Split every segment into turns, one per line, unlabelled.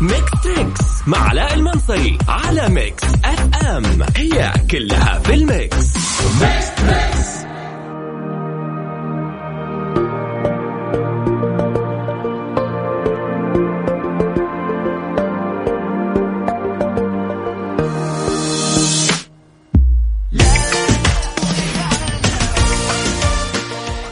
ميكس تريكس مع علاء المنصري على ميكس اف ام هي كلها في الميكس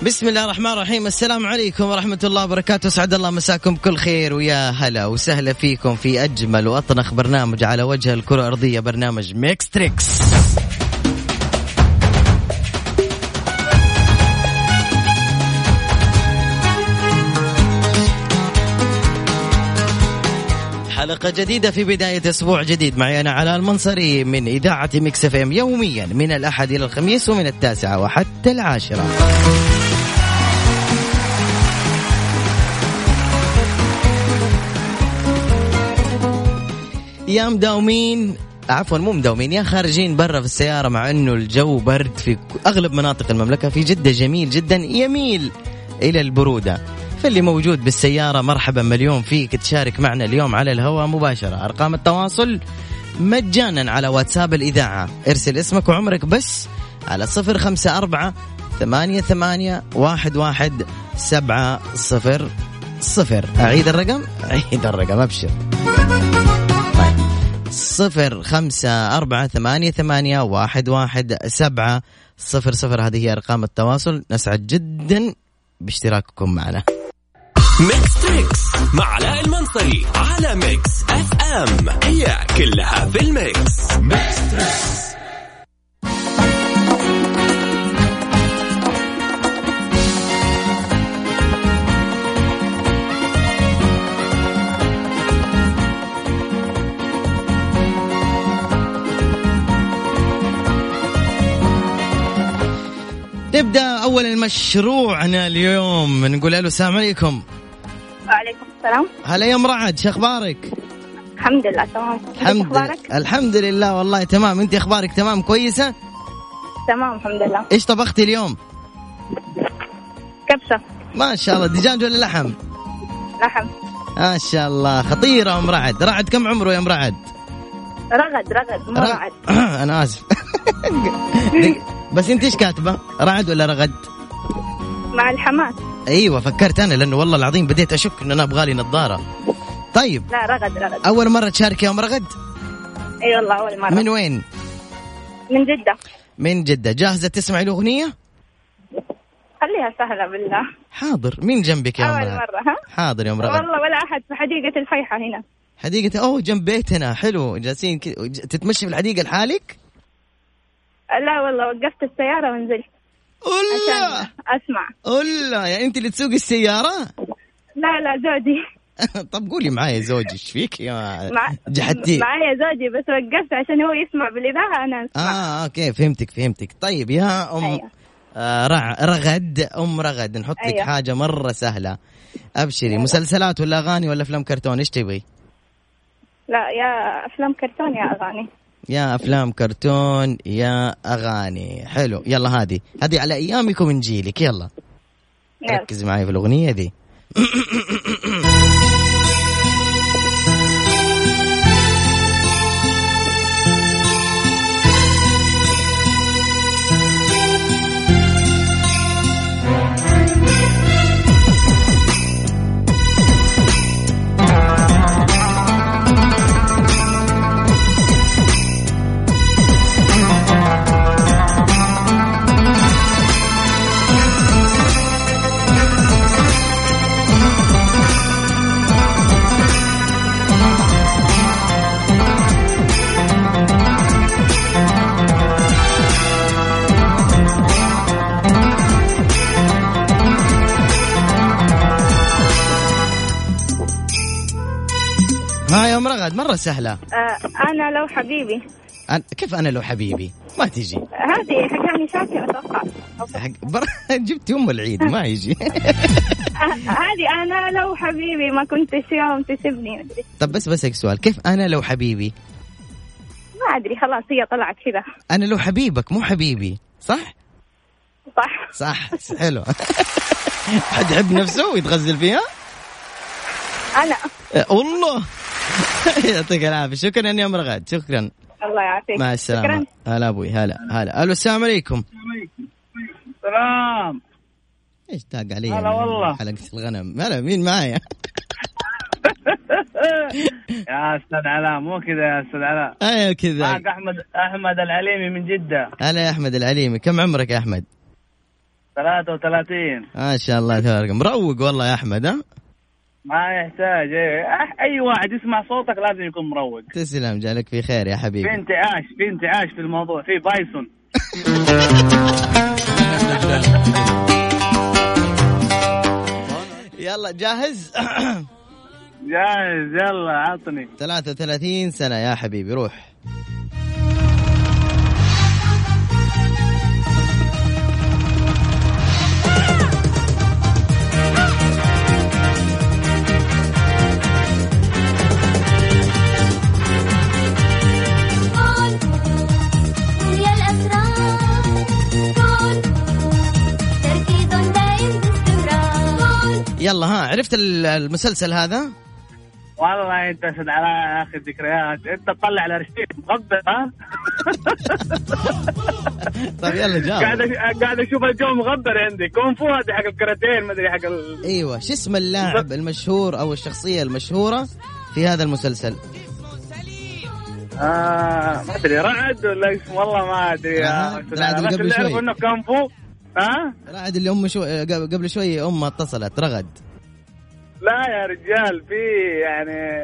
بسم الله الرحمن الرحيم السلام عليكم ورحمة الله وبركاته سعد الله مساكم كل خير ويا هلا وسهلا فيكم في أجمل وأطنخ برنامج على وجه الكرة الأرضية برنامج ميكس تريكس حلقة جديدة في بداية أسبوع جديد معي أنا علاء المنصري من إذاعة ميكس اف ام يوميا من الأحد إلى الخميس ومن التاسعة وحتى العاشرة يا مداومين عفوا مو مداومين يا خارجين برا في السيارة مع انه الجو برد في ك- اغلب مناطق المملكة في جدة جميل جدا يميل الى البرودة فاللي موجود بالسيارة مرحبا مليون فيك تشارك معنا اليوم على الهواء مباشرة ارقام التواصل مجانا على واتساب الإذاعة ارسل اسمك وعمرك بس على صفر خمسة أربعة ثمانية ثمانية واحد واحد سبعة صفر صفر أعيد الرقم أعيد الرقم أبشر صفر خمسة أربعة ثمانية ثمانية واحد واحد سبعة صفر صفر هذه هي أرقام التواصل نسعد جدا باشتراككم معنا
ميكس تريكس مع علاء المنصري على ميكس اف ام هي كلها في الميكس
نبدأ أولا مشروعنا اليوم نقول ألو السلام عليكم
وعليكم السلام
هلا يا مرعد شخبارك
الحمد لله تمام كيف أخبارك؟
لله الحمد لله والله تمام أنت أخبارك تمام كويسة
تمام الحمد لله
إيش طبختي اليوم
كبسة
ما شاء الله دجاج ولا لحم
لحم
ما شاء الله خطيرة أم رعد رعد كم عمره يا أم رعد
رغد رغد مو
رع-
رعد
انا اسف دق- بس انت ايش كاتبه؟ رعد ولا رغد؟
مع الحماس
ايوه فكرت انا لانه والله العظيم بديت اشك ان انا ابغى لي نظاره. طيب
لا رغد رغد
اول مره تشارك يا ام رغد؟
اي والله اول مرة
من
من,
وين؟
من جدة
من جده، جاهزه تسمعي الاغنيه؟
خليها سهلة بالله
حاضر، مين جنبك يا ام
اول
رغد؟
مرة ها
حاضر يا ام رغد.
والله ولا احد في حديقة الفيحة هنا
حديقه اوه جنب بيتنا حلو جالسين كي... ج- تتمشي في الحديقه لحالك؟
لا والله وقفت السيارة ونزلت
الله
عشان اسمع
الله يعني انت اللي تسوقي السياره؟
لا لا زوجي
طب قولي معايا زوجي ايش فيك يا
مع...
جحدتيه
معايا زوجي بس وقفت عشان هو يسمع بالإذاعة أنا أسمع
اه اوكي فهمتك فهمتك طيب يا ام
أيوة.
آه رع رغد ام رغد نحط لك
أيوة.
حاجه مره سهله ابشري مسلسلات ولا اغاني ولا افلام كرتون ايش تبغي
لا يا أفلام كرتون يا أغاني
يا افلام كرتون يا اغاني حلو يلا هذه هذه على ايامكم نجيلك يلا
يلا.
ركز معي في الاغنيه دي ها يا ام رغد مره سهله
آه أنا لو حبيبي
أنا- كيف انا لو حبيبي ما تجي
هذه حكاني شاكي اتوقع
حق- بر- جبت يوم العيد ما يجي
آه، هذه انا لو حبيبي ما كنت يوم تسيبني مدري.
طب بس بسك سؤال كيف انا لو حبيبي
ما ادري خلاص هي طلعت كذا
انا لو حبيبك مو حبيبي صح
صح
صح حلو حد يحب نفسه ويتغزل فيها
انا
أه، والله يعطيك العافيه شكرا يا ام رغد شكرا
الله يعافيك
مع السلامه هلا ابوي هلا هلا الو السلام عليكم
سلام
ايش تاق علي
هلا والله.
حلقه الغنم هلا مين معايا
يا استاذ علاء مو كذا يا استاذ علاء
ايوه كذا
معك احمد احمد العليمي من جده
هلا يا احمد العليمي كم عمرك يا احمد
33
ما شاء الله تبارك مروق والله يا احمد ها
ما يحتاج إيه. أح- اي واحد يسمع صوتك لازم يكون مروق
تسلم جالك في خير يا حبيبي
في انتعاش في انتعاش في الموضوع في بايسون
يلا جاهز
جاهز يلا عطني
33 سنة يا حبيبي روح
كون ويا الأسرار كون تركيز دائم باستمرار كون
يلا ها عرفت ال- المسلسل هذا؟
والله انت يا استاذ علاء يا اخي ذكريات انت تطلع على رشيد مغبر ها
طيب يلا
قاعد
جاوب
أش- قاعد اشوف الجو مغبر عندي كون فو هذا حق الكرتين ما ادري حق ال...
ايوه شو اسم اللاعب المشهور او الشخصية المشهورة في هذا المسلسل؟
آه ما ادري رعد ولا اسمه والله ما ادري
آه،
يا استاذ
رعد
علاء
اللي
بس
قبل
اللي
شوي.
اعرفه انه كون فو ها
رعد اللي امه شو... قبل شوي امه اتصلت رغد
لا يا رجال في يعني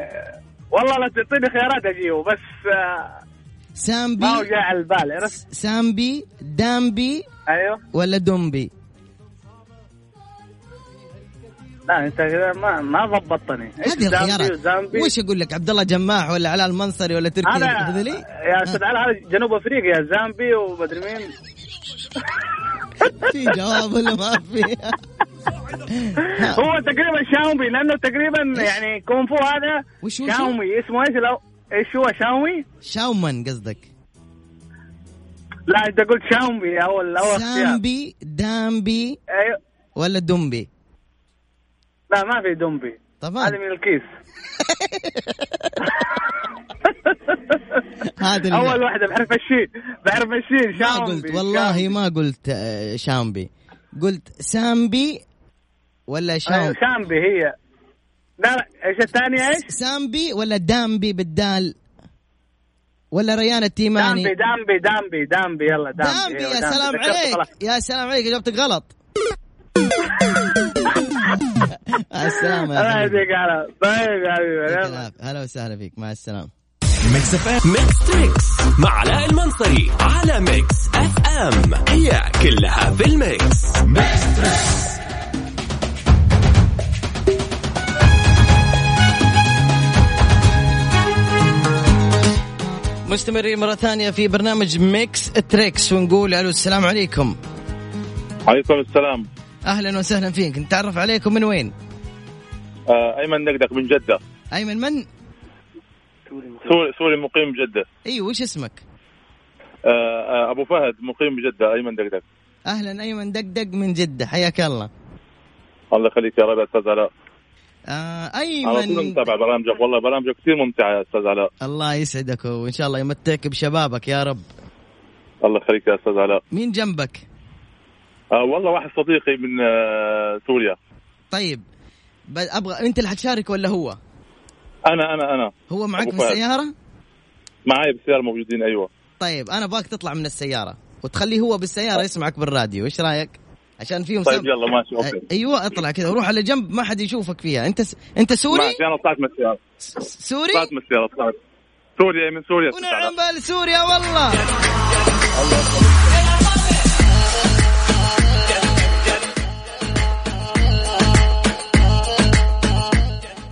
والله لا تعطيني خيارات اجيبه بس آه، ما هو
سامبي
جاي على البال عرفت
سامبي دامبي
ايوه
ولا دومبي؟
لا انت كذا ما ما ضبطتني إيش
هذه
زامبي
الخيارات
وزامبي؟
وش اقول لك عبد الله جماح ولا علاء المنصري ولا تركي
هذا
البذلي؟
يا استاذ علاء هذا جنوب افريقيا زامبي ومدري مين
في جواب ولا ما في؟
هو تقريبا شاومي لانه تقريبا يعني كونغ فو هذا
وش- وش-
شاومي اسمه ايش لو ايش هو شاومي؟
شاومن قصدك
لا انت قلت شاومي اول اول اختيار
سامبي دامبي
ايوه
ولا دومبي؟
لا ما في دومبي
طبعا
هذا من الكيس
هذا اللي-
اول واحده بعرف الشين بعرف الشين
ما
شاومي
قلت والله ما قلت آه، شامبي قلت سامبي ولا
شاومي
شام
أيوة، شامبي أيوه، هي لا لا ايش الثانيه ايش؟
سامبي ولا دامبي بالدال ولا ريان التيماني
دامبي دامبي دامبي دامبي يلا دامبي
دامبي
أيوة،
يا
دامبي.
سلام
ذكرت خلاص.
عليك يا سلام عليك اجابتك غلط مع السلامة يا
الله
حبيبي.
يهديك على طيب يا حبيبي
يعطيك
يلا
العافية. هلا وسهلا فيك مع السلامة
ميكس اف ام ميكس تريكس مع علاء المنصري على ميكس اف ام هي كلها في الميكس
مستمرين مرة ثانية في برنامج ميكس تريكس ونقول الو السلام عليكم
عليكم السلام
اهلا وسهلا فيك نتعرف عليكم من وين؟
آه، ايمن دقدق من جده
ايمن من؟
سوري سوري مقيم بجده
اي إيوه، وش اسمك؟
آه، آه، ابو فهد مقيم بجده ايمن دقدق
اهلا ايمن دقدق من جدة حياك الله
الله يخليك يا رب يا استاذ علاء
آه
على طول
ايمن
متابع برامجك والله برامجك كثير ممتعه يا استاذ علاء
الله يسعدك وان شاء الله يمتعك بشبابك يا رب
الله يخليك يا استاذ علاء
مين جنبك؟
آه، والله واحد صديقي من آه، سوريا
طيب ب- ابغى انت اللي حتشارك ولا هو؟
انا انا انا
هو معك
أبو فهد.
بالسيارة؟
معاي بالسياره موجودين ايوه
طيب انا باك تطلع من السيارة وتخليه هو بالسيارة يسمعك بالراديو ايش رايك؟ عشان فيهم
طيب
سب-
يلا ماشي
أ-
اوكي
ايوه اطلع كذا وروح على جنب ما حد يشوفك فيها انت س... انت سوري طيب.
ماشي انا طلعت من السياره
س- سوري
طلعت من السياره طلعت طيب. سوريا من سوريا يا أستاذ علاء.
ونعم بالسوريا والله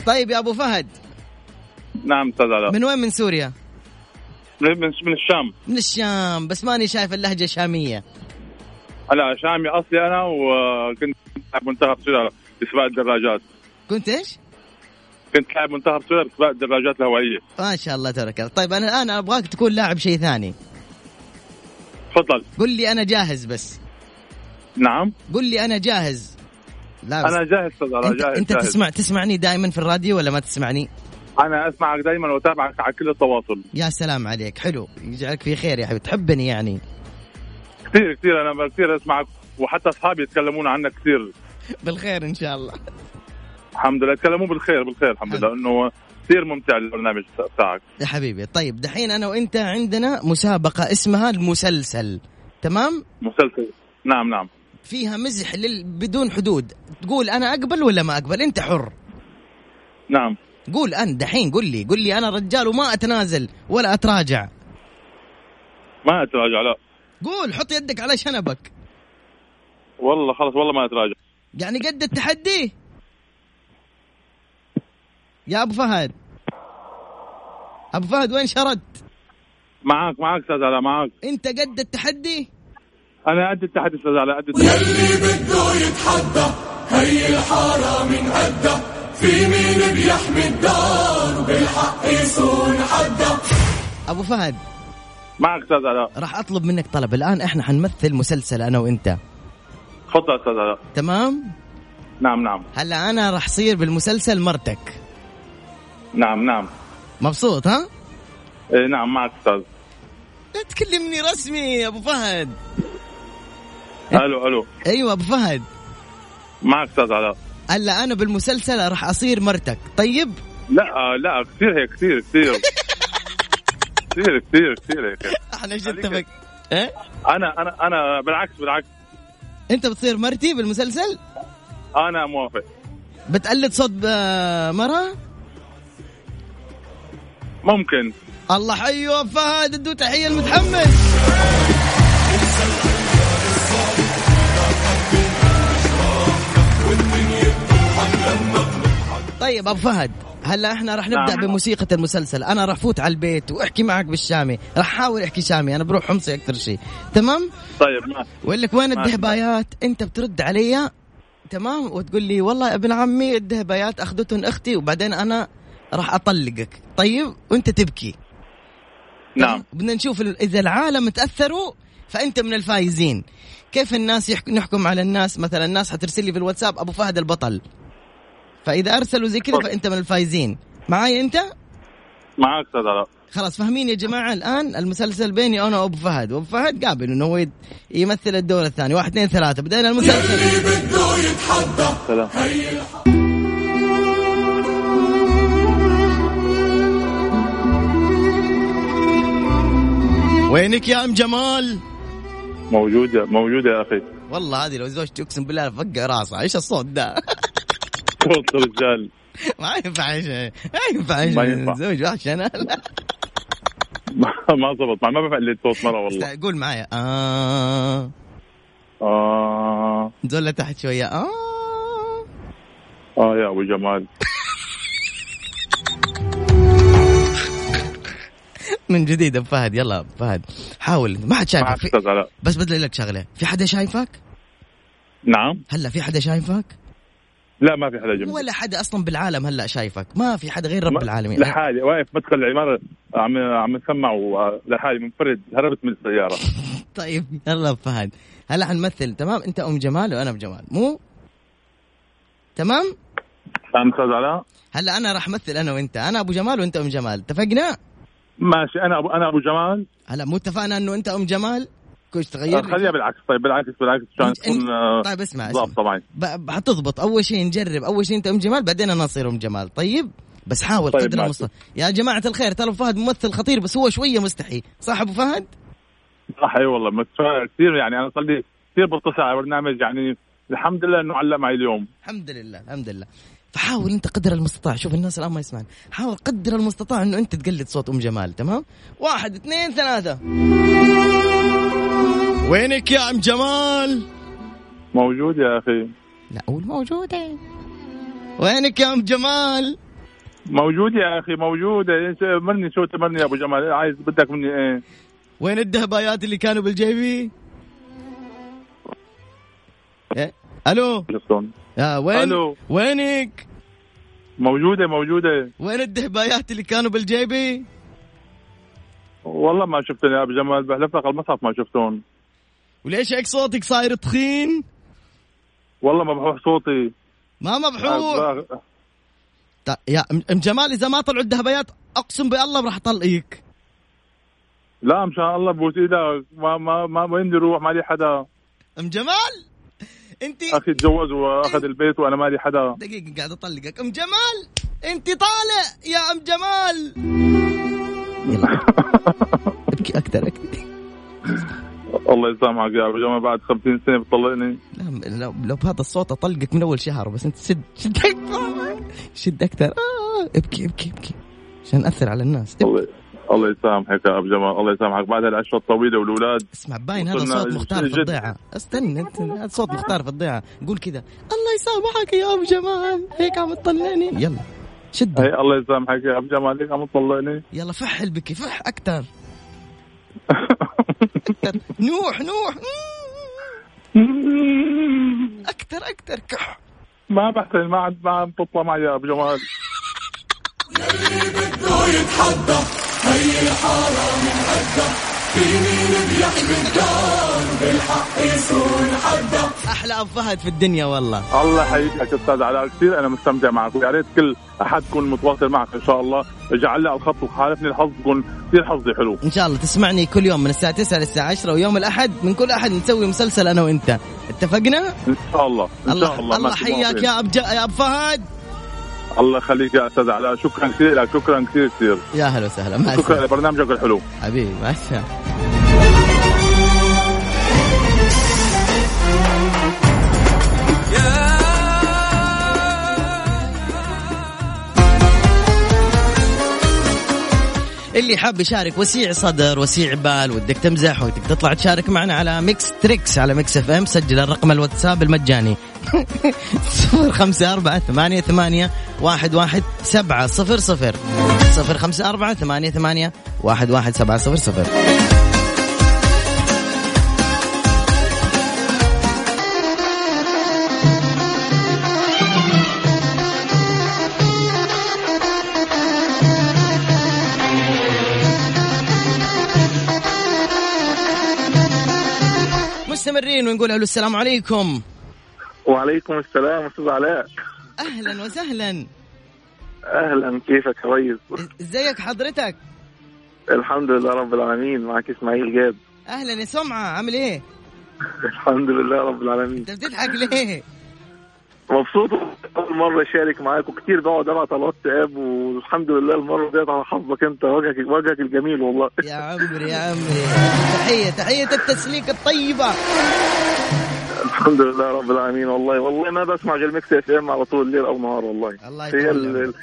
طيب يا ابو فهد
نعم استاذ علاء
من وين من سوريا
من من- من الشام
من الشام بس ماني شايف اللهجه شاميه
انا شامي اصلي انا وكنت لاعب منتخب سوريا بسباق الدراجات
كنت ايش
كنت لاعب منتخب سوريا بسباق الدراجات الهوائيه
ما شاء الله تبارك الله طيب انا الان ابغاك تكون لاعب شيء ثاني
تفضل
قل لي انا جاهز بس
نعم
قل لي انا جاهز لا بس
انا جاهز استاذ علاء
انت,
جاهز
انت
جاهز.
تسمع تسمعني دائما في الراديو ولا ما تسمعني
انا اسمعك دائما واتابعك على كل التواصل
يا سلام عليك حلو يجعلك في خير يا حبيبي تحبني يعني
كثير كثير انا كثير اسمعك وحتى اصحابي يتكلمون عنك كثير
بالخير ان شاء الله
الحمد لله يتكلمون بالخير بالخير الحمد لله انه كثير ممتع البرنامج تاعك
يا حبيبي طيب دحين انا وانت عندنا مسابقه اسمها المسلسل تمام
مسلسل نعم نعم
فيها مزح لل... بدون حدود تقول انا اقبل ولا ما اقبل انت حر
نعم
قول انت دحين قول لي قول لي انا رجال وما اتنازل ولا اتراجع
ما اتراجع لا
قول حط يدك على شنبك
والله خلص والله ما اتراجع
يعني قد التحدي يا ابو فهد ابو فهد وين شردت
معك معك استاذ علاء معك
انت قد التحدي
انا قد التحدي استاذ علاء قد التحدي
ابو فهد
معك استاذ علاء
راح اطلب منك طلب الان احنا حنمثل مسلسل انا وانت
تفضل استاذ علاء
تمام
نعم نعم
هلا انا راح صير بالمسلسل مرتك
نعم نعم
مبسوط ها
إيه نعم معك استاذ
لا تكلمني رسمي يا ابو فهد
الو الو
ايوه ابو فهد
معك استاذ علاء
هلا انا بالمسلسل راح اصير مرتك طيب
لا آه، لا كثير هيك كثير كثير كثير كثير كثير هيك
احنا ايش
خليك.
اتفق إيه؟
انا انا انا بالعكس بالعكس
انت بتصير مرتي بالمسلسل
انا موافق
بتقلد صوت آه، ب- مرة
ممكن
الله حيو أبو فهد ادو تحية المتحمس طيب ابو فهد هلا احنا راح نبدا
نعم.
بموسيقى المسلسل انا راح فوت على البيت واحكي معك بالشامي راح احاول احكي شامي انا بروح حمصي اكثر شيء تمام
طيب ما-
واقول لك وين
ما-
الدهبايات انت بترد علي تمام وتقول لي والله يا ابن عمي الدهبايات اخذتهم اختي وبعدين انا راح اطلقك طيب وانت تبكي
نعم
يعني بدنا نشوف ال- اذا العالم تاثروا فانت من الفايزين كيف الناس يحك... نحكم على الناس مثلا الناس حترسل لي في الواتساب ابو فهد البطل فاذا ارسلوا زي كذا
طب.
فانت من الفايزين معاي انت
معك استاذ علاء
خلاص فاهمين يا جماعه الان المسلسل بيني انا وابو فهد وابو فهد قابل انه هو يت- يمثل الدور الثاني واحد اثنين ثلاثه بدينا المسلسل
سلام
وينك يا ام جمال؟
موجودة موجودة يا أخي
والله هذه لو زوجتي اقسم بالله فقع راسها، ايش الصوت ده؟
صوت رجال
ما ينفع ايش ما ينفع ايش
ما ينفع.
زوج وحش انا لا.
ما- ما زبط ما ما بفقلد صوت مرة والله
است- قول معايا اه
آه
نزول لتحت شويه اه
آه يا أبو جمال
من جديد ابو فهد يلا أبو فهد حاول ما حد شايفك
معك
طيب، في...
أستاذ علاء
بس بدي اقول لك شغله في حدا شايفك؟
نعم
هلا في حدا شايفك؟
لا ما في حدا جنبي
ولا حدا اصلا بالعالم هلا شايفك، ما في حدا غير رب
ما-
العالمين
لحالي واقف مدخل العمارة عم عم اسمع لحالي منفرد هربت من السيارة
طيب يلا أبو فهد هلا حنمثل تمام انت ام جمال وانا ام جمال مو؟ تمام؟
فهمت أستاذ علاء
هلا انا راح امثل انا وانت انا ابو جمال وانت ام جمال اتفقنا
ماشي أنا أبو أنا أبو جمال
هلا مو اتفقنا انه انت ام جمال كويس
آه،
تغير
خليها بالعكس طيب بالعكس بالعكس عشان
إنت-
تكون آه،
طيب اسمع اسمع
ضابطة معي
ب- حتضبط اول شيء نجرب اول شيء انت ام جمال بعدين انا اصير ام جمال طيب بس حاول
طيب،
قدر
ماشي.
المستطاع يا جماعه الخير ترى أبو فهد ممثل خطير بس هو شويه مستحي صح ابو فهد
صح اي آه، والله متفائل كثير يعني انا صار لي كثير بتصل على البرنامج يعني الحمد لله انه علق معي اليوم
الحمد لله الحمد لله فحاول انت قدر المستطاع شوف الناس الان ما يسمعن حاول قدر المستطاع انه انت تقلد صوت ام جمال تمام واحد اثنين ثلاثه وينك يا ام جمال
موجود يا اخي
لا أقول موجودة وينك يا أم جمال؟
موجود يا اخي موجود إيش- مرني شو تمرني يا ابو جمال عايز بدك مني ايه
وين الدهبايات اللي كانوا بالجيبي؟ إيه؟ ألو
جسون
آه وين؟
ألو.
وينك؟
موجوده موجوده
وين الدهبايات اللي كانوا بالجيبي؟
والله ما شفتهم يا ابو جمال بحلف لك على المصحف ما شفتهم
وليش هيك صوتك صاير تخين؟
والله مبحوح صوتي
ما مبحوح ط- يا ام أم جمال اذا ما طلعوا الدهبيات اقسم بالله راح اطلقك
لا ان شاء الله بوس ايدك ما ما ما وين بدي اروح ما لي حدا
ام جمال انت
اخي تجوز واخذ البيت وانا ما لي حدا
دقيقه قاعد اطلقك ام جمال انت طالع يا ام جمال يلا ابكي اكثر ابكي
الله يسامحك يا ابو جمال بعد 50 سنه بتطلقني
لا نعم، لو, لو بهذا الصوت اطلقك من اول شهر بس انت سد شد اكثر شد اكثر آه ابكي ابكي ابكي عشان اثر على الناس ابكي.
الله الله يسامحك يا ابو جمال الله يسامحك بعد هالعشره الطويله والاولاد
اسمع باين هذا
وصلنا
صوت مختار في
جد.
الضيعه استنى أنت- هذا صوت مختار في الضيعه قول كذا الله يسامحك يا ام جمال هيك عم تطلعني يلا شده
هي إيه، الله يسامحك يا ابو جمال ليك عم تطلقني
يلا فح البكي فح اكثر اكثر نوح نوح اكثر اكثر كح
ما بحسن ما عاد ما عم تطلع معي يا ابو جمال
احلى اب فهد في الدنيا والله
الله يحييك استاذ علاء كثير انا مستمتع معك ويا ريت كل احد يكون متواصل معك ان شاء الله اجعل لي على الخط وخالفني الحظ يكون كثير حظي حلو
ان شاء الله تسمعني كل يوم من الساعه 9 للساعه 10 ويوم الاحد من كل احد نسوي مسلسل انا وانت اتفقنا
ان شاء الله ان شاء الله
الله
ما في
حياك
مواقف.
يا اب جا- يا اب فهد
الله يخليك يا استاذ علاء شكرا كثير لك شكرا كثير كثير
يا هلا وسهلا مع السلامه
شكرا لبرنامجك الحلو
حبيبي مع السلامه اللي حاب يشارك وسيع صدر وسيع بال ودك تمزح ودك تطلع تشارك معنا على ميكس تريكس على ميكس اف ام سجل الرقم الواتساب المجاني صفر خمسة أربعة ثمانية ثمانية واحد واحد سبعة صفر صفر صفر خمسة أربعة ثمانية ثمانية واحد واحد سبعة صفر صفر مستمرين ونقول الو السلام عليكم
وعليكم السلام استاذ علاء
اهلا وسهلا
اهلا كيفك يا ريس
ازيك حضرتك
الحمد لله رب العالمين معك اسماعيل جاد
اهلا يا سمعه عامل ايه
الحمد لله رب العالمين
انت بتضحك ليه
مبسوط اول مره اشارك معاك وكتير بقعد ابعت على الواتساب والحمد لله المره ديت على حظك انت وجهك وجهك الجميل والله
يا عمري يا عمري تحيه تحيه التسليك الطيبه
الحمد لله رب العالمين والله والله ما بسمع غير ميكس اف ام على طول الليل او نهار والله
الله نعم.
هي
يطول
ال-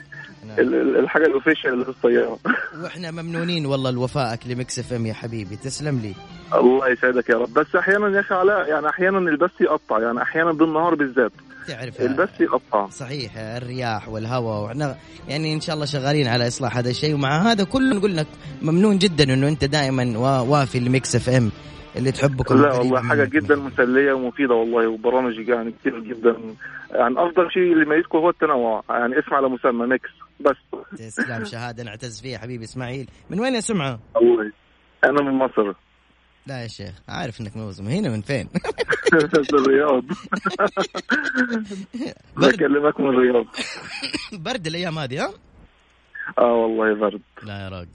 عمرك.
ال- ال- الحاجه الاوفيشال اللي في السياره
واحنا ممنونين والله لوفائك لمكس اف ام يا حبيبي تسلم لي
الله يسعدك يا رب بس احيانا يا اخي علاء يعني احيانا البث يقطع يعني احيانا بالنهار بالذات
تعرف
البث يقطع
صحيح الرياح والهواء واحنا يعني ان شاء الله شغالين على اصلاح هذا الشيء ومع هذا كله نقول لك ممنون جدا انه انت دائما وا- وافي لمكس اف ام اللي تحبكم
لا
وقريبة
والله حاجة
منكم.
جدا مسلية ومفيدة والله وبرامج يعني كتير جدا يعني أفضل شيء اللي يميزكم هو التنوع يعني اسم على مسمى ميكس بس
تسلم شهاده نعتز فيها حبيبي اسماعيل من وين يا سمعه؟
والله أنا من مصر
لا يا شيخ عارف انك موزم هنا من فين؟
من الرياض
برد
بكلمك من الرياض
برد الايام هذه ها؟
اه والله برد
لا يا راجل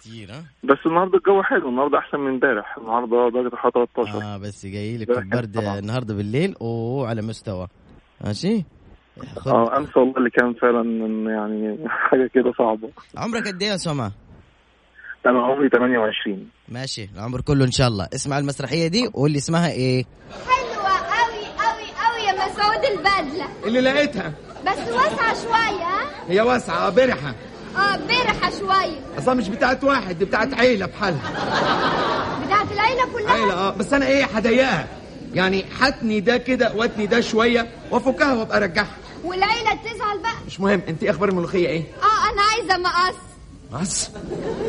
كثير ها؟
بس النهارده الجو حلو النهارده أحسن من امبارح النهارده درجة الحرارة 13
اه بس جاي لك
لا،
البرد
طبعاً.
النهارده بالليل اوه على مستوى ماشي خذ
اه أمس والله اللي كان فعلا من- يعني حاجة كده صعبة
عمرك قد ايه يا سما؟
أنا عمري 28
ماشي العمر كله ان شاء الله اسمع المسرحيه دي وقول لي اسمها ايه
حلوة أوي أوي أوي يا مسعود البدلة
اللي لقيتها
بس واسعة شوية ها؟
هي واسعة آه، برحة
اه برحة شوية
أصلا مش بتاعت واحد دي بتاعت عيلة بحالها
بتاعت العيلة
عيلة
كلها
اه بس أنا إيه هضيقها يعني حتني ده كده واتني ده شوية وأفكها وأبقى أرجعها
والعيلة تزعل بقى
مش مهم أنت إيه أخبار الملوخية إيه؟
اه أنا عايزة مقص
مقص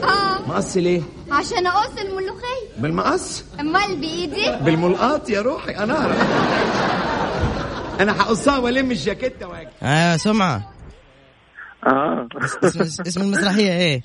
اه
مقص ليه؟
عشان أقص الملوخية
بالمقص؟
أمال بإيدي
بالملقاط يا روحي أنا أعرف أنا هقصها وألم الجاكيتة وأجي
آه، اه يا سمعه
اه
اسم, اسم المسرحيه ايه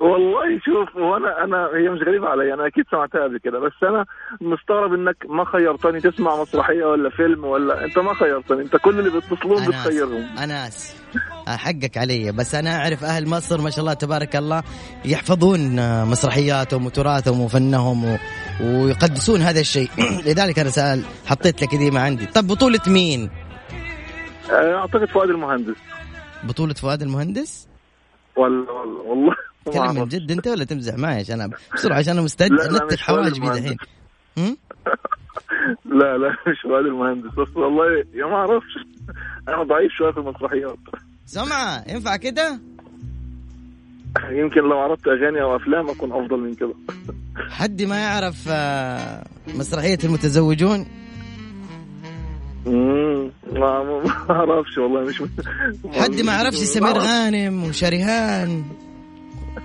والله شوف وانا انا هي مش غريبه عليا انا اكيد سمعتها قبل كده بس انا مستغرب انك ما خيرتني تسمع مسرحيه ولا فيلم ولا انت ما خيرتني انت كل اللي بيتصلون
انا
بتخيرهم
اسف انا اسف آه، حقك علي بس انا اعرف اهل مصر ما شاء الله تبارك الله يحفظون آه، مسرحياتهم وتراثهم وفنهم و... ويقدسون هذا الشيء لذلك انا سأل حطيت لك دي ما عندي طب بطولة مين؟
آه، اعتقد فؤاد المهندس
بطولة فؤاد المهندس؟
ولا ولا والله ما
تكلم من
أعرف.
جد انت ولا تمزح معي عشان أب- بسرعه عشان انا مستعد
لا، لا،
انتك
مش فؤاد
حواجبي
المهندس.
دحين هم؟
لا لا مش فؤاد المهندس بس والله يا ما اعرفش انا ضعيف شويه في المسرحيات
سمعه ينفع كده؟
يمكن لو عرضت اغاني او افلام اكون افضل من كده
حد ما يعرف آه، مسرحيه المتزوجون؟
مم، ما ما اعرفش والله مش
حد ما يعرفش سمير غانم وشريهان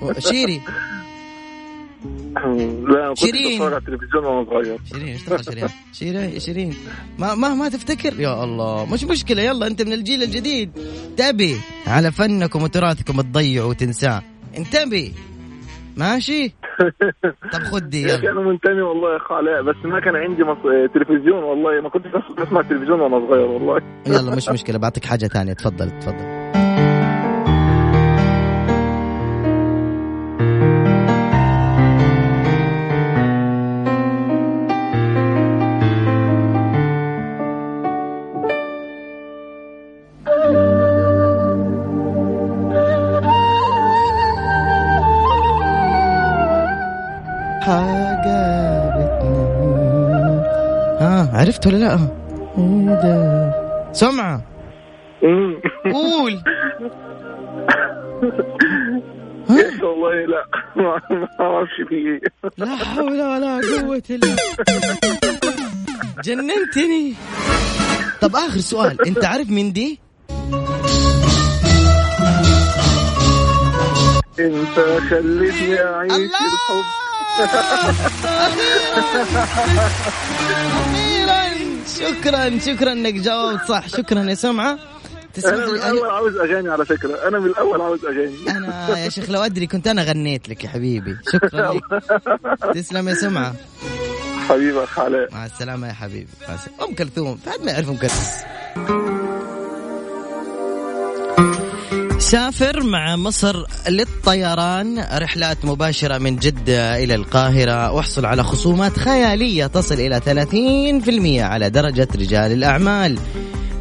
وشيري
لا كنت
شيرين.
بتفرج على التلفزيون وانا صغير
شيرين ايش تفعل شيرين؟ شيرين شيرين ما ما ما تفتكر يا الله مش مشكله يلا انت من الجيل الجديد انتبه على فنكم وتراثكم تضيعه وتنساه انتبه ماشي طب خد دي
يا اخي
يلا
انا منتمي والله يا اخ علاء بس ما كان عندي مص... تلفزيون والله ما كنت بس- بسمع تلفزيون وانا صغير والله
يلا مش مشكله بعطيك حاجه ثانيه تفضل تفضل حاجه بتنام ها آه، عرفت ولا لا إيه ده؟ سمعة
مم.
قول
يا أخي والله لا ما ما اعرفش في ايه
لا حول ولا قوة الا جننتني طب اخر سؤال انت عارف مين دي؟
انت خليتني اعيش
الله
الحب
أخيراً! شكرا شكرا انك جاوبت صح شكرا يا سمعة
انا
تسمح
من
لي
الاول
أنا-
عاوز اغاني على فكره انا من الاول عاوز اغاني
انا يا شيخ لو ادري كنت انا غنيت لك يا حبيبي شكرا لك تسلم يا سمعة
حبيبي يا اخ علاء
مع السلامة يا حبيبي مع السلامة. أم كلثوم بعد ما يعرف أم كلثوم سافر مع مصر للطيران رحلات مباشرة من جدة إلى القاهرة واحصل على خصومات خيالية تصل إلى 30% على درجة رجال الأعمال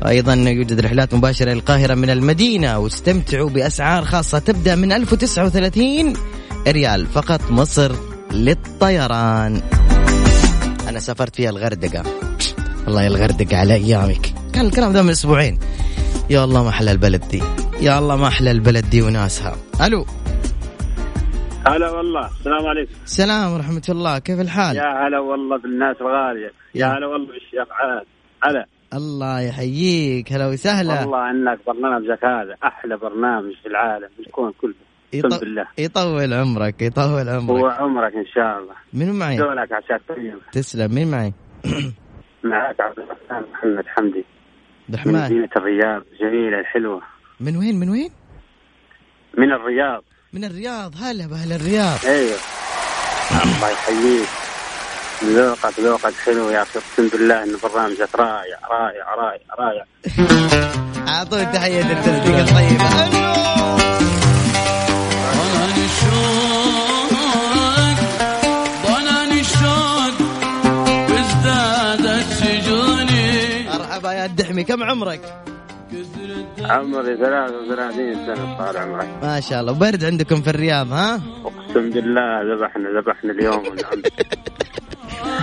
أيضا يوجد رحلات مباشرة للقاهرة من المدينة واستمتعوا بأسعار خاصة تبدأ من 1039 ريال فقط مصر للطيران انا سافرت فيها الغردقه الله يا الغردقه على ايامك كان الكلام ده من اسبوعين يا الله ما احلى البلد دي يا الله ما احلى البلد دي وناسها الو
هلا والله السلام عليكم
سلام ورحمه الله كيف الحال
يا هلا والله بالناس الغاليه
يا.
يا هلا والله بالشيخ عاد هلا
الله يحييك هلا وسهلا
والله انك برنامجك هذا احلى برنامج في العالم في الكون كله
يط-
الحمد لله
يطول عمرك يطول
هو
عمرك
عمرك ان شاء الله
من معي
دولك عشان تقيم
تسلم مين معي
طيب. معك عبد الرحمن محمد
عبد
حمدي من
الرحمن
مدينه الرياض جميله الحلوه
من وين من وين
من الرياض
من الرياض هلا باهل الرياض
ايوه الله يحييك ذوقك ذوقك حلو يا اخي اقسم بالله ان برنامجك رائع رائع رائع رائع
اعطوه تحيه التلفزيون الطيبه مرحبا يا الدحمي كم عمرك
عمري 33 سنه صار عمرك
ما شاء الله برد عندكم في الرياض ها
اقسم بالله ذبحنا ذبحنا اليوم والعم.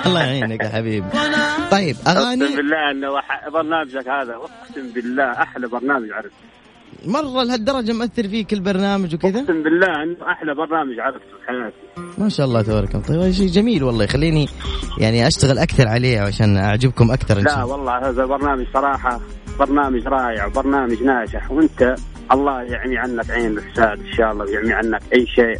الله يعينك يا حبيبي طيب
اقسم
اغاني
بالله انه وح- برنامجك هذا اقسم بالله احلى برنامج عرفت
مره لهالدرجه مأثر فيك البرنامج وكذا
اقسم بالله انه احلى برنامج عرفت في حياتي
ما شاء الله تبارك الله طيب هذا شيء جميل والله يخليني يعني اشتغل اكثر عليه عشان اعجبكم اكثر ان شاء
لا
الله
والله هذا برنامج صراحه برنامج رائع وبرنامج ناجح وانت الله يعمي عنك عين الفساد ان شاء الله ويعمي عنك اي شيء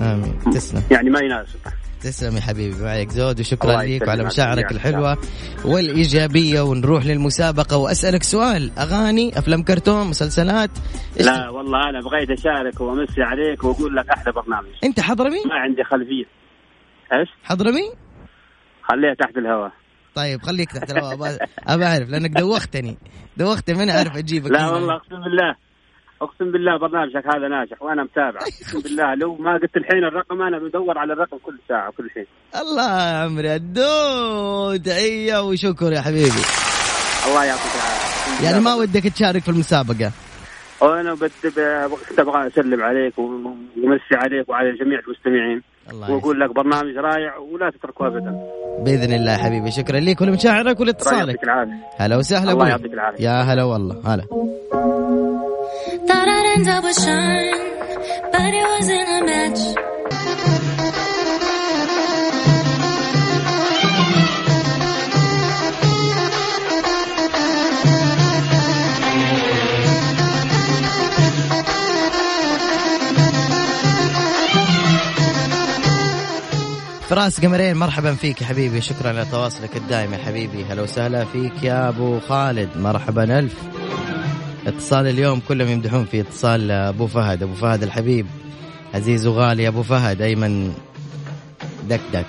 امين تسلم
يعني ما يناسبك
تسلم يا حبيبي ما عليك زود وشكرا
الله
ليك
يسلمك.
وعلى مشاعرك
يعني
الحلوة والإيجابية ونروح للمسابقة وأسألك سؤال أغاني أفلام كرتون مسلسلات إيش
لا والله انا بغيت اشارك وامسي عليك واقول لك احلى برنامج
أنت حضرمي؟
ما عندي خلفيه ايش؟
حضرمي؟
خليها تحت الهواء
طيب خليك تحت الهواء أبا- أبى أعرف لأنك دوختني دوختني من أعرف أجيبك
لا والله اقسم بالله اقسم بالله برنامجك هذا ناجح وانا متابع اقسم بالله لو ما قلت الحين الرقم انا بدور على الرقم كل ساعه وكل شيء
الله يا عمري الدو تحية وشكر يا حبيبي
الله يعطيك العافيه
يعني ما ودك تشارك في المسابقة
وانا بت- ب- كنت ابغى اسلم عليك وامسي عليك وعلى جميع المستمعين
الله يسلمك.
واقول لك برنامج رائع ولا تتركوه ابدا
باذن الله يا حبيبي شكرا ليك ولمشاعرك
الله
ولاتصالك
يعطيك العافيه
هلا وسهلا
الله
أبوي.
يعطيك العافية.
يا هلا والله هلا
Thought I'd end up with Sean, but it wasn't a match.
فراس قمرين مرحبا فيك يا حبيبي شكرا لتواصلك الدائم يا حبيبي هلا وسهلا فيك يا ابو خالد مرحبا الف اتصال اليوم كلهم يمدحون في اتصال ابو فهد ابو فهد الحبيب عزيز وغالي ابو فهد ايمن دك دك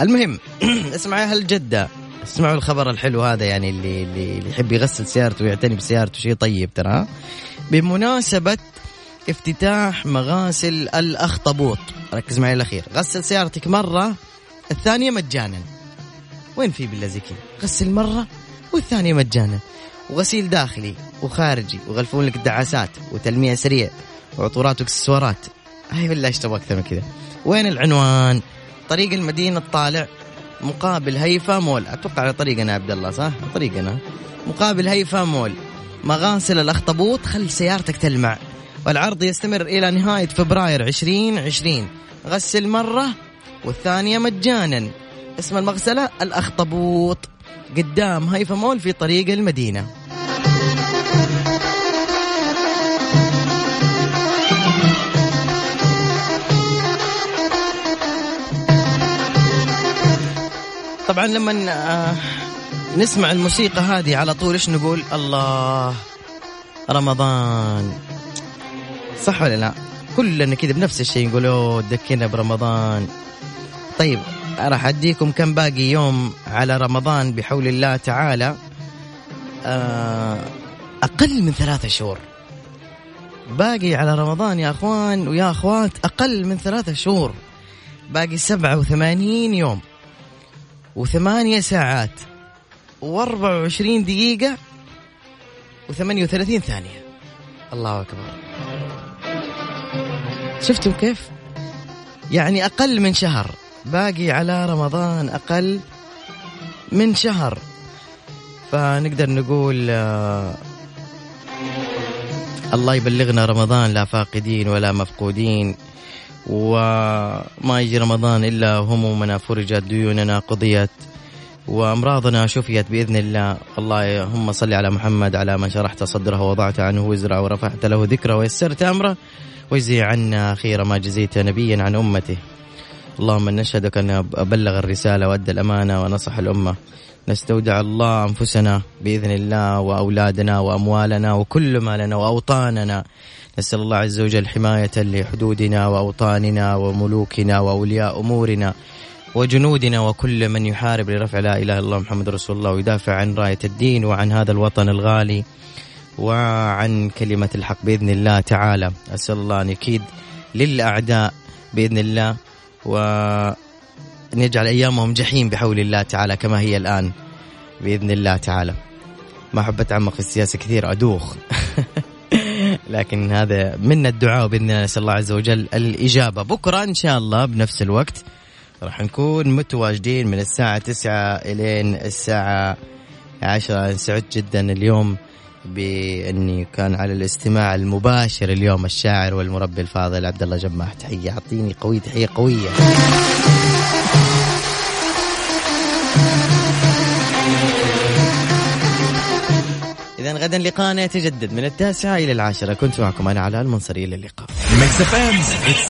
المهم اسمعوا يا اهل جده اسمعوا الخبر الحلو هذا يعني اللي اللي اللي يحب يغسل سيارته ويعتني بسيارته شيء طيب ترى ها؟ بمناسبه افتتاح مغاسل الاخطبوط ركز معي الاخير غسل سيارتك مره الثانيه مجانا وين في بالله زي كذا غسل مره والثانيه مجانا وغسيل داخلي وخارجي ويغلفون لك الدعاسات وتلميع سريع وعطورات واكسسوارات هاي بالله ايش تبغى اكثر من كذا وين العنوان طريق المدينه الطالع مقابل هيفا مول اتوقع على طريقنا يا عبد الله صح طريقنا مقابل هيفا مول مغاسل الاخطبوط خل سيارتك تلمع والعرض يستمر إلى نهاية فبراير 2020 غسل مرة والثانية مجانا اسم المغسلة الأخطبوط قدام هيفا مول في طريق المدينة طبعا لما آه، نسمع الموسيقى هذه على طول ايش نقول الله رمضان صح ولا لا؟ كلنا كذا بنفس الشيء نقول اوه تذكرنا برمضان. طيب راح اديكم كم باقي يوم على رمضان بحول الله تعالى آه، اقل من ثلاثة شهور. باقي على رمضان يا اخوان ويا اخوات اقل من ثلاثة شهور. باقي 87 يوم وثمانية ساعات و24 دقيقة و38 ثانية. الله اكبر. شفتم كيف؟ يعني أقل من شهر باقي على رمضان أقل من شهر فنقدر نقول آه، الله يبلغنا رمضان لا فاقدين ولا مفقودين وما يجي رمضان إلا همومنا فرجت ديوننا قضيت وأمراضنا شفيت بإذن الله الله هم صل على محمد على من شرحت صدره ووضعت عنه وزره ورفعت له ذكره ويسرت أمره واجزي عنا خير ما جزيت نبيا عن امته اللهم نشهدك ان بلغ الرساله وادى الامانه ونصح الامه نستودع الله انفسنا باذن الله واولادنا واموالنا وكل ما لنا واوطاننا نسال الله عز وجل حمايه لحدودنا واوطاننا وملوكنا واولياء امورنا وجنودنا وكل من يحارب لرفع لا اله الا الله محمد رسول الله ويدافع عن رايه الدين وعن هذا الوطن الغالي وعن كلمة الحق بإذن الله تعالى أسأل الله أن يكيد للأعداء بإذن الله ونجعل أيامهم جحيم بحول الله تعالى كما هي الآن بإذن الله تعالى ما أحب أتعمق في السياسة كثير أدوخ لكن هذا من الدعاء بإذن الله نسأل الله عز وجل الإجابة بكرة إن شاء الله بنفس الوقت راح نكون متواجدين من الساعة 9 إلين الساعة 10 سعدت جدا اليوم باني كان على الاستماع المباشر اليوم الشاعر والمربي الفاضل عبد الله جماح تحيه اعطيني قوي تحيه قويه اذا غدا لقاءنا يتجدد من التاسعه الى العاشره كنت معكم انا علاء المنصري الى اللقاء
Mix FM's It's